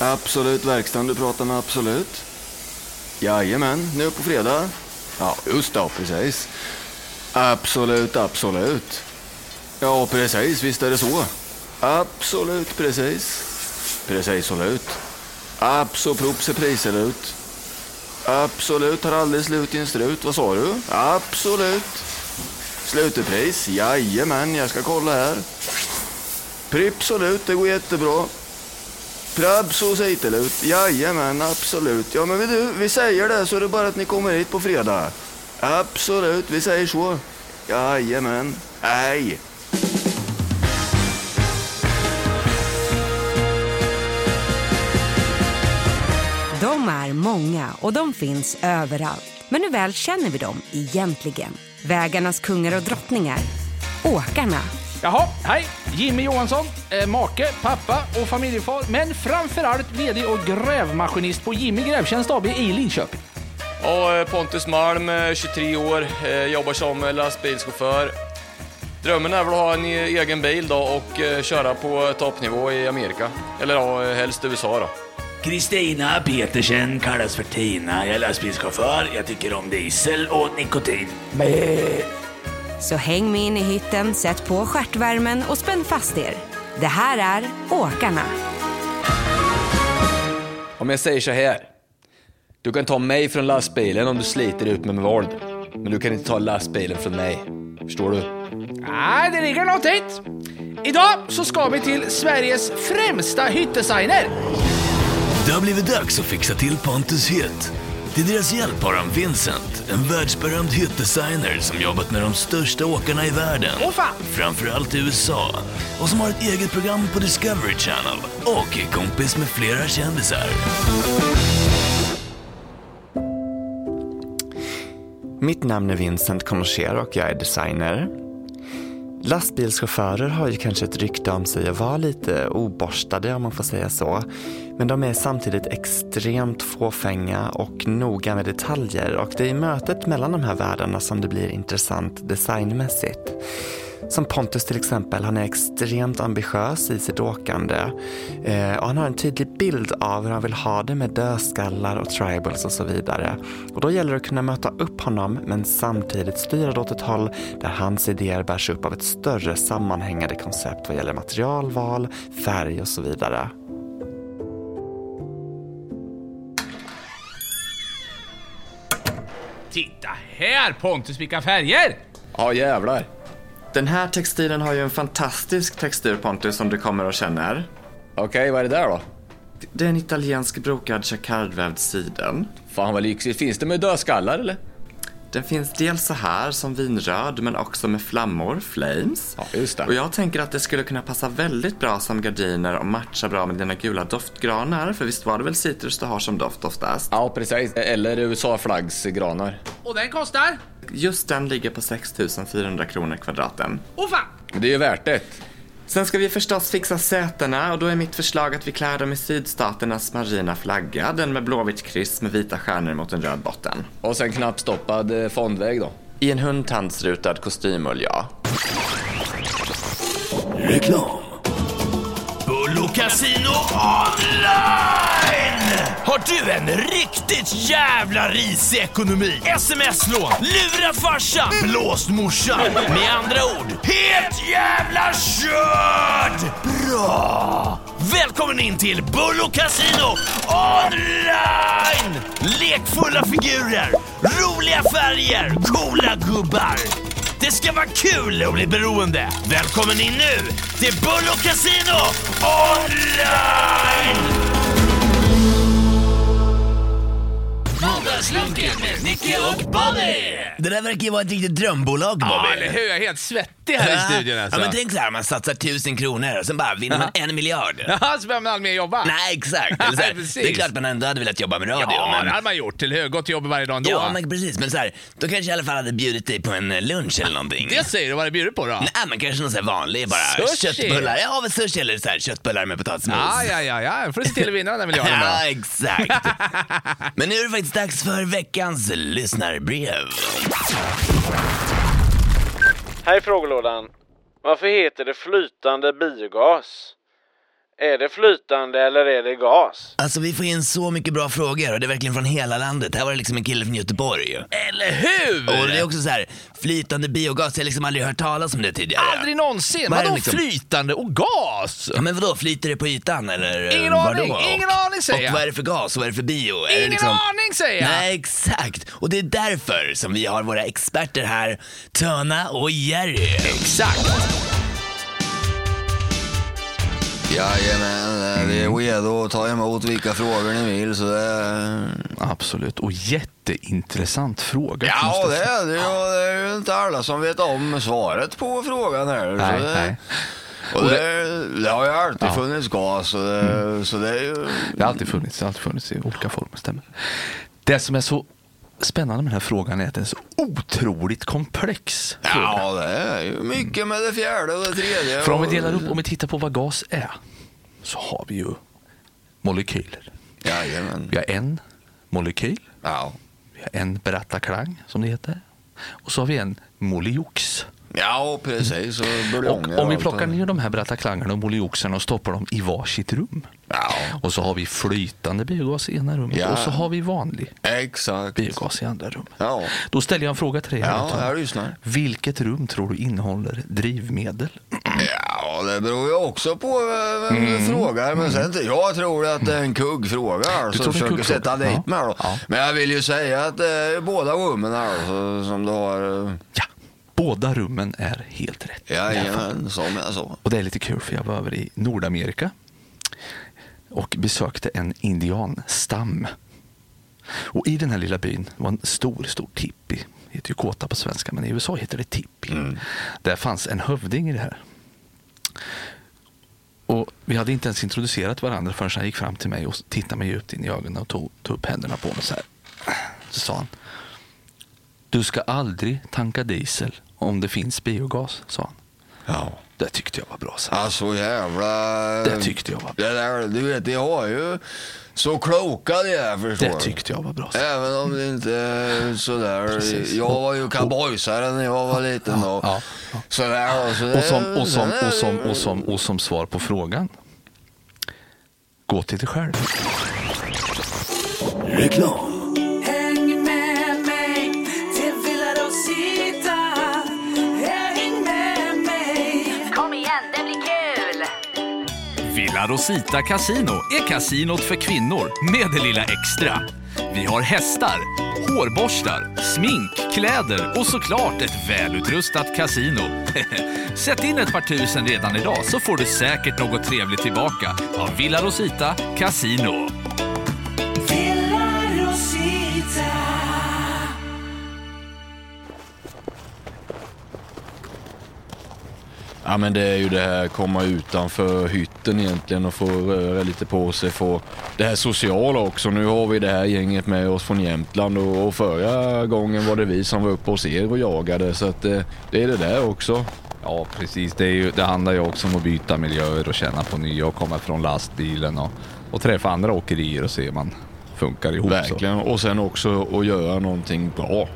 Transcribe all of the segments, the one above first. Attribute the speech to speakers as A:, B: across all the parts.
A: Absolut verkstaden du pratar med, absolut. Jajamän, nu på fredag. Ja, just det, precis. Absolut, absolut. Ja, precis, visst är det så. Absolut, precis. Precis, solut. Absolut, priselut. Absolut, har aldrig slut i en strut. Vad sa du? Absolut. Slutepris? Jajamän, jag ska kolla här. Pripsolut, det går jättebra. Prabsositelut, jajamän, absolut. Ja, men du, vi säger det så är det bara att ni kommer hit på fredag. Absolut, vi säger så. Jajamän. Nej.
B: De är många och de finns överallt. Men hur väl känner vi dem egentligen? Vägarnas kungar och drottningar. Åkarna.
C: Jaha, hej! Jimmy Johansson, eh, make, pappa och familjefar, men framförallt VD och grävmaskinist på Jimmy Grävtjänst AB i Linköping.
D: Ja, eh, Pontus Malm, eh, 23 år, eh, jobbar som eh, lastbilschaufför. Drömmen är väl att ha en eh, egen bil då och eh, köra på eh, toppnivå i Amerika. Eller ja, eh, helst USA då.
E: Kristina Petersen kallas för Tina. Jag är lastbilschaufför. Jag tycker om diesel och nikotin.
B: Så häng med in i hytten, sätt på stjärtvärmen och spänn fast er. Det här är Åkarna.
F: Om jag säger så här. Du kan ta mig från lastbilen om du sliter ut mig med våld. Men du kan inte ta lastbilen från mig. Förstår du?
C: Nej, det ligger något hit. Idag så ska vi till Sveriges främsta hyttdesigner.
G: Det har blivit dags att fixa till Pontus hytt. Till deras hjälp har han Vincent, en världsberömd hyttdesigner som jobbat med de största åkarna i världen,
C: Åh fan!
G: framförallt i USA, och som har ett eget program på Discovery Channel och är kompis med flera kändisar.
H: Mitt namn är Vincent Concher och jag är designer. Lastbilschaufförer har ju kanske ett rykte om sig att vara lite oborstade om man får säga så. Men de är samtidigt extremt fåfänga och noga med detaljer och det är i mötet mellan de här världarna som det blir intressant designmässigt. Som Pontus till exempel, han är extremt ambitiös i sitt åkande. Eh, och han har en tydlig bild av hur han vill ha det med dödskallar och tribals och så vidare. Och då gäller det att kunna möta upp honom men samtidigt styra det åt ett håll där hans idéer bärs upp av ett större sammanhängande koncept vad gäller materialval, färg och så vidare.
C: Titta här Pontus, vilka färger!
F: Ja, jävlar.
H: Den här textilen har ju en fantastisk textur Pontus som du kommer att känna.
F: Okej, vad är det där då?
H: Det är en italiensk brokad jacquardvävd siden.
F: Fan vad lyxigt. Finns det med dödskallar eller?
H: Den finns dels så här som vinröd men också med flammor, flames.
F: Ja, just det.
H: Och jag tänker att det skulle kunna passa väldigt bra som gardiner och matcha bra med dina gula doftgranar. För visst var det väl citrus du har som doft oftast?
F: Ja, precis. Eller USA-flaggsgranar.
C: Och den kostar?
H: Just den ligger på 6 400 kronor kvadraten.
C: Åh fan!
F: Men det är ju värt det.
H: Sen ska vi förstås fixa sätena och då är mitt förslag att vi klär dem i sydstaternas marina flagga. Den med blåvitt kryss med vita stjärnor mot en röd botten.
F: Och sen knappstoppad eh, fondväg då.
H: I en hundtandsrutad kostymull, ja.
G: Reklam.
E: Bullo Casino Online! Har du en riktigt jävla risig ekonomi? Sms-lån, lurat farsan, blåst morsan. Med andra ord, helt jävla kört! Bra! Välkommen in till Bullo Casino Online! Lekfulla figurer, roliga färger, coola gubbar. Det ska vara kul att bli beroende. Välkommen in nu till Bullo Casino Online! Måndagslunken med Nicky och Bobby!
G: Det där verkar ju vara ett riktigt drömbolag, Bobby. Ah.
E: Ja, eller hur? Jag är helt svettig här i studion alltså.
G: Ja, men tänk så här, man satsar tusen kronor och sen bara vinner man en miljard.
E: Ja,
C: Alltså,
E: så behöver man aldrig mer jobba.
G: Nej, exakt. Eller så
E: Nej,
G: här,
E: precis.
G: det är klart man ändå hade velat jobba med radio,
E: Ja, det
G: men...
E: hade man gjort, eller hur? Gått till jobbet varje dag ändå.
G: Ja, men precis. Men så här, då kanske jag i alla fall hade bjudit dig på en eh, lunch eller någonting.
E: Det säger du, vad det bjuder på då?
G: Nej, men kanske någon sån här vanlig bara.
E: Sushi.
G: Köttbullar. Ja, men sushi eller så här, köttbullar med potatismos.
E: Ja, ja, ja, ja. får du se till att vinna den där miljarden då.
G: Ja, exakt. Men nu är det faktiskt dags för veckans lyssnarbrev.
I: Här är frågelådan. Varför heter det flytande biogas? Är det flytande eller är det gas?
E: Alltså vi får in så mycket bra frågor och det är verkligen från hela landet. Här var det liksom en kille från Göteborg ju.
J: Eller hur?
E: Och det är också så här, flytande biogas, jag har liksom aldrig hört talas om det tidigare.
J: Aldrig någonsin.
E: Vad är det
J: Vadå
E: liksom?
J: flytande och gas?
E: Ja men vadå, flyter det på ytan eller? eh,
J: Ingen
E: vadå?
J: aning, ingen aning säger
E: Och
J: jag.
E: vad är det för gas och vad är det för bio? är det
J: Ingen
E: liksom...
J: aning säger jag!
E: Nej, exakt. Och det är därför som vi har våra experter här, Töna och Jerry.
J: Exakt.
A: Jajamän, eh, vi är redo att ta emot vilka frågor ni vill. Så det...
C: Absolut, och jätteintressant fråga.
A: Ja,
C: måste
A: det
C: jag säga.
A: är det. ju. Det är ju inte alla som vet om svaret på frågan här.
C: Nej,
A: så det...
C: nej.
A: Och
C: Och
A: det,
C: det-
A: det har ju alltid
C: Ja.
A: funnits gas, och det, så det är ju...
C: Det har alltid funnits, det har alltid funnits i olika former, stämmer. Det som är så spännande med den här frågan är att den är så otroligt komplex. fråga.
A: Ja, det är ju mycket med det fjärde och det tredje.
C: För om
A: och-
C: vi delar upp, om vi tittar på vad gas är, så har vi ju molekyler.
A: Jajamän.
C: Vi har en molekyl,
A: Ja.
C: vi har en berättarklang som det heter, och så har vi en moliox.
A: ja, precis. Och buljonger
C: Och om vi
A: allt
C: plockar
A: och-
C: ner de här berättarklangarna och molioxerna och stoppar dem i varsitt rum.
A: Ja,
C: Och så har vi flytande biogas i ena rummet
A: Ja.
C: och så har vi vanlig
A: exakt.
C: biogas i andra rummet.
A: Ja.
C: Då ställer jag en fråga till dig.
A: Ja,
C: Jonathan.
A: jag lyssnar.
C: Vilket rum tror du innehåller drivmedel?
A: Ja, det beror ju också på vem du Mm, frågar. Men sen, jag tror att det är en kuggfråga här,
C: tror
A: som
C: det är en
A: försöker
C: kuggfråga?
A: sätta dit
C: Ja.
A: mig. Då.
C: Ja.
A: Men jag vill ju säga att det är båda rummen här så, som du har... eh,
C: Ja, båda rummen är helt rätt.
A: Jajamän, som jag sa.
C: Och det är lite kul för jag var över i Nordamerika och besökte en indianstam. Och i den här lilla byn var en stor, stor tippi. Det heter ju kåta på svenska, men i USA heter det tippi.
A: Mm.
C: Där fanns en hövding i det här. Och vi hade inte ens introducerat varandra förrän han gick fram till mig och tittade mig djupt in i ögonen och tog, tog upp händerna på mig så här. Så sa han. Du ska aldrig tanka diesel om det finns biogas, sa han.
A: Ja.
C: Det tyckte jag var bra sagt.
A: Alltså jävla...
C: Det tyckte jag var bra.
A: Det där, du vet, de har ju så kloka de är förstår
C: Det
A: du.
C: tyckte jag var bra sagt.
A: Även om det inte är sådär.
C: Precis.
A: Jag var ju cowboysare när jag var liten då.
C: Ja,
A: Sådär, och, så
C: Och som, och, som, och, som, och, som, och som svar på frågan. Gå till dig själv.
G: Reklam.
K: Häng med mig till Villa Rosita. Häng med mig. Kom igen, det blir kul.
J: Villa Rosita Casino är kasinot för kvinnor med det lilla extra. Vi har hästar, hårborstar, smink, kläder och såklart ett välutrustat kasino. Sätt in ett par tusen redan idag så får du säkert något trevligt tillbaka av Villa Rosita Casino.
K: Villa Rosita.
F: Ja men det är ju det här komma utanför hytten egentligen och få röra lite på sig. Få det här sociala också. Nu har vi det här gänget med oss från Jämtland och, och förra gången var det vi som var uppe hos er och jagade. Så att eh, det är det där också.
L: Ja, precis. Det, är ju, det handlar ju också om att byta miljöer och känna på nya och komma från lastbilen och, och träffa andra åkerier och se hur man funkar ihop.
F: Verkligen. Och sen också att göra någonting bra.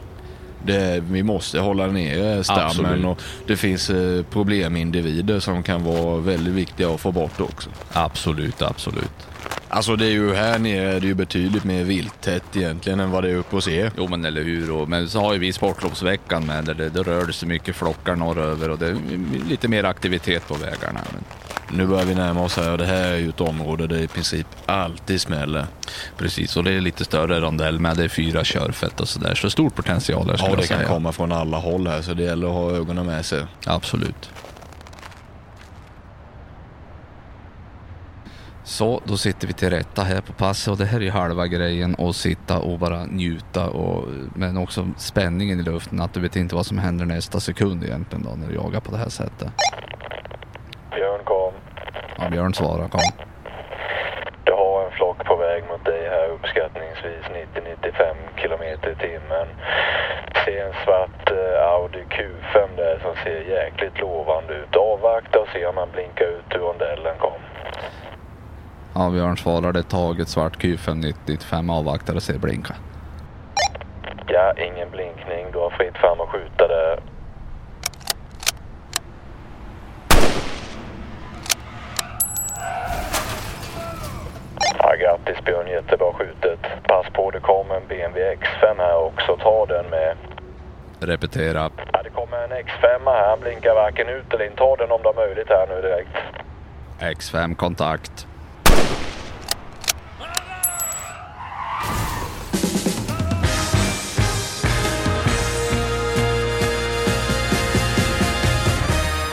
F: Det, vi måste hålla ner
L: Absolut.
F: stammen och det finns eh, problemindivider som kan vara väldigt viktiga att få bort också.
L: Så. Absolut, absolut.
F: Alltså det är ju här nere är det ju betydligt mer vilttätt egentligen än vad det är uppe hos er.
L: Jo, men eller hur. Och, men så har ju vi sportlovsveckan med där det, det rör sig mycket flockar norröver och det är lite mer aktivitet på vägarna. Men,
F: Nu börjar vi närma oss här och det här är ju ett område där det i princip alltid smäller.
L: precis, och det är lite större rondell med. Det är fyra körfält och sådär. Så stor potential där skulle
F: Ja, det
L: jag
F: kan
L: säga.
F: komma från alla håll här så det gäller att ha ögonen med sig.
L: Absolut. Så, då sitter vi till rätta här på passet och det här är ju halva grejen att sitta och bara njuta och, men också spänningen i luften att du vet inte vad som händer nästa sekund egentligen då när du jagar på det här sättet.
I: Björn kom.
L: Ja, Björn svarar kom.
I: Du har en flock på väg mot dig här uppskattningsvis 90-95 kilometer i timmen. Se en svart eh, Audi Q5 där som ser jäkligt lovande ut. Avvakta och se om han blinkar ut ur rondellen kom.
L: Ja, Björn svarar det är taget svart Q595 avvaktar och ser blinka.
I: Ja, ingen blinkning. Du har fritt fram att skjuta där. Grattis Björn, jättebra skjutet. Pass på, det kom en BMW X5 här också. Ta den med.
L: Repetera.
I: Ja, det kommer en X5 här. Han blinkar varken ut eller in. Ta den om det är möjligt här nu direkt.
L: X5 kontakt.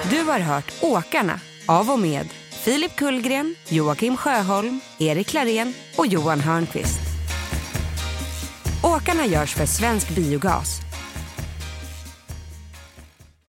B: Du har hört Åkarna av och med Filip Kullgren, Joakim Sjöholm, Erik Larén och Johan Hörnqvist. Åkarna görs för Svensk Biogas